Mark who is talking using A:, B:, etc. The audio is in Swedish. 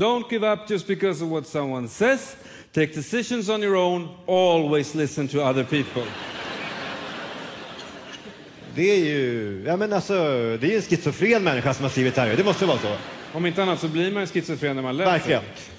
A: Don't give up just because of what someone says. Take decisions on your own. Always listen to other people.
B: Det är ju, ja men alltså, det är ju en schizofren människa som har skrivit det här. Det måste ju vara så.
A: Om inte annat så blir man ju schizofren när man läser.
B: Verkligen.